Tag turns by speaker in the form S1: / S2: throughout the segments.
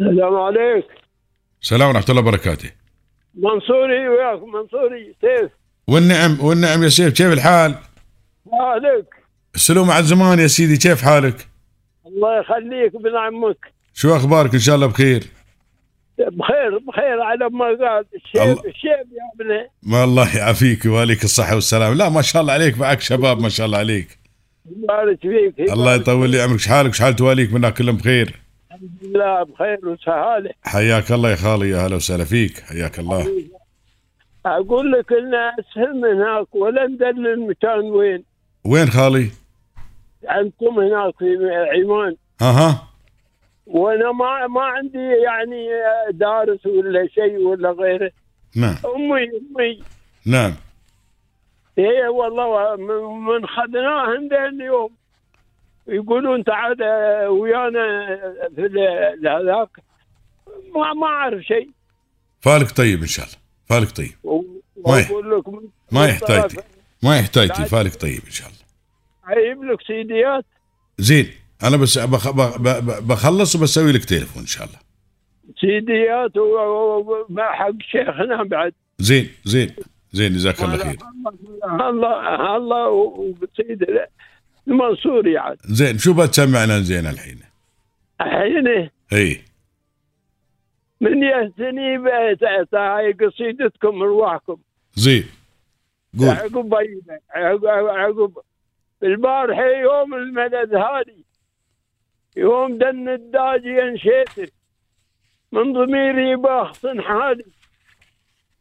S1: السلام عليك
S2: سلام ورحمه الله وبركاته
S1: منصوري وياك منصوري سيف
S2: والنعم والنعم يا سيف كيف الحال؟
S1: عليك
S2: السلوم على الزمان يا سيدي كيف حالك؟
S1: الله يخليك ابن عمك
S2: شو اخبارك ان شاء الله بخير؟
S1: بخير بخير على ما قال
S2: الله.
S1: الشيب الشيب يا ابني
S2: ما الله يعافيك ويواليك الصحه والسلام لا ما شاء الله عليك معك شباب ما شاء الله عليك
S1: يبارك فيك
S2: الله يطول لي عمرك شحالك شحال تواليك منا كلهم بخير
S1: الحمد لله بخير وسهاله
S2: حياك الله يا خالي يا هلا وسهلا فيك حياك الله
S1: اقول لك ان اسهل من هناك ولا ندل المكان وين
S2: وين خالي؟
S1: عندكم هناك في عمان
S2: ها ها
S1: وانا ما ما عندي يعني دارس ولا شيء ولا غيره
S2: نعم
S1: امي امي
S2: نعم
S1: ايه والله من- من خذناهم ذا اليوم يقولون تعال آه، ويانا آه، في ال- هذاك ما ما اعرف شيء
S2: فالك طيب ان شاء الله فالك طيب
S1: و-
S2: ما يح-
S1: واقول لك من-
S2: ما
S1: من
S2: يحتاج
S1: طرف
S2: ما يحتاج لي، فالك طيب ان شاء الله
S1: اجيب لك سيديات
S2: زين انا بس بخ... بخ... بخلص وبسوي لك تليفون ان شاء الله
S1: سيديات و- و- وما حق شيخنا بعد
S2: زين زين زين جزاك الله خير
S1: الله الله الله يعني. وسيد المنصوري عاد
S2: زين شو بتسمعنا زين الحين
S1: الحين
S2: اي
S1: من يهتني بهاي قصيدتكم ارواحكم
S2: زين قول
S1: عقب بينه عقب عقب البارحة يوم المدد هادي يوم دن الداجي انشيتك من ضميري باخصن حالي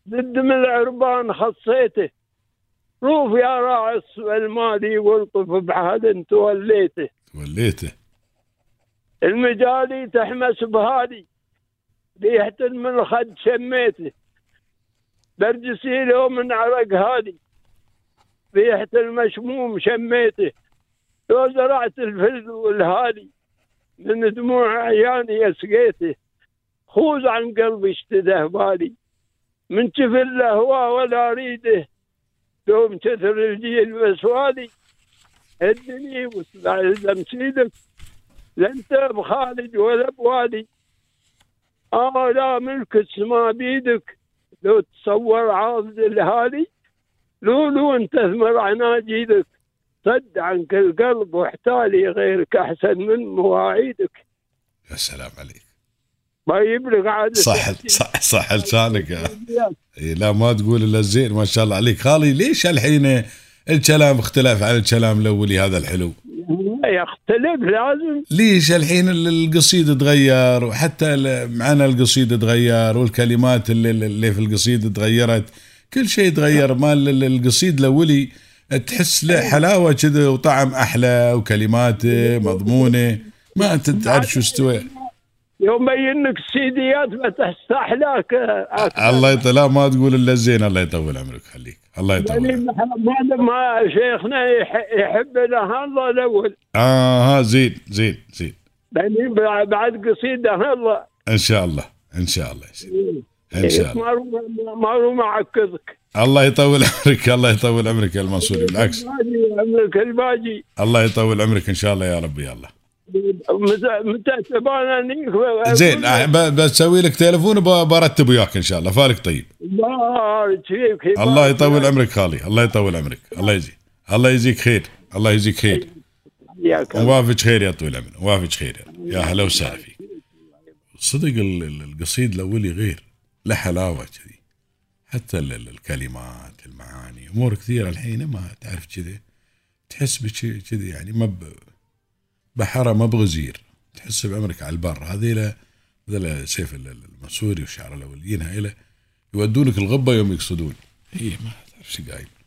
S1: ضد من العربان خصيته روف يا راعي السوى المالي والطف بعهد توليته
S2: وليته
S1: المجالي تحمس بهادي ريحة من الخد شميته برجسي له من عرق هادي ريحة المشموم شميته لو زرعت الفل والهادي من دموع عياني اسقيته خوز عن قلبي اشتده بالي من كفل له هوى ولا ريده دوم كثر الجيل بسوالي هدني واسمع لمسيدك لا انت بخالد ولا بوالي اه لا ملك السما بيدك لو تصور عاضد الهالي لو لو انت ثمر عناجيدك صد عنك القلب واحتالي غيرك احسن من مواعيدك
S2: يا سلام عليك
S1: ما يبلغ عاد
S2: صح صح صح لسانك يا. إي لا ما تقول الا الزين ما شاء الله عليك خالي ليش الحين الكلام اختلف عن الكلام الاولي هذا الحلو
S1: يختلف لازم
S2: ليش الحين ال- القصيد تغير وحتى ال- معنى القصيد تغير والكلمات اللي, اللي في القصيد تغيرت كل شيء تغير ما ال- ال- القصيد الاولي تحس له حلاوه كذا وطعم احلى وكلماته مضمونه ما انت تعرف شو استوى
S1: يوم ينك السيديات ما تستحلاك
S2: الله يط... لا ما تقول الا الزين الله يطول عمرك خليك الله
S1: يعني
S2: يطول عمرك.
S1: ما ما شيخنا يح- يحب لها الله الاول
S2: اه ها زين زين زين
S1: يعني بعد قصيدة هلا
S2: ان شاء الله ان شاء الله يا سيدي.
S1: إيه.
S2: ان شاء الله
S1: ما رو- ما رو ما عكزك
S2: الله يطول عمرك الله يطول عمرك يا المنصوري بالعكس
S1: عمرك الباجي
S2: الله يطول عمرك ان شاء الله يا رب يلا
S1: متى متى تبانا نيك
S2: زين آه، ب- بسوي لك تليفون وب- برتب وياك ان شاء الله فالك طيب
S1: بارك فيك
S2: الله يطول عمرك خالي الله يطول عمرك الله يجزيك الله يجزيك خير الله يجزيك خير
S1: إياك.
S2: وافج خير يا طويل العمر وافج خير يا, يا هلا وسهلا فيك صدق ال- ال- القصيد الاولي غير له حلاوه كذي حتى ال- ال- الكلمات المعاني امور كثيره الحين ما تعرف كذي تحس بشي- كذي يعني ما ب- بحره ما بغزير تحس بعمرك على البر هذيلا هذيلا سيف ال- ال- المنصوري والشعراء الاوليين هذيلا يودونك الغبه يوم يقصدون هي إيه، ما تعرف شو قايل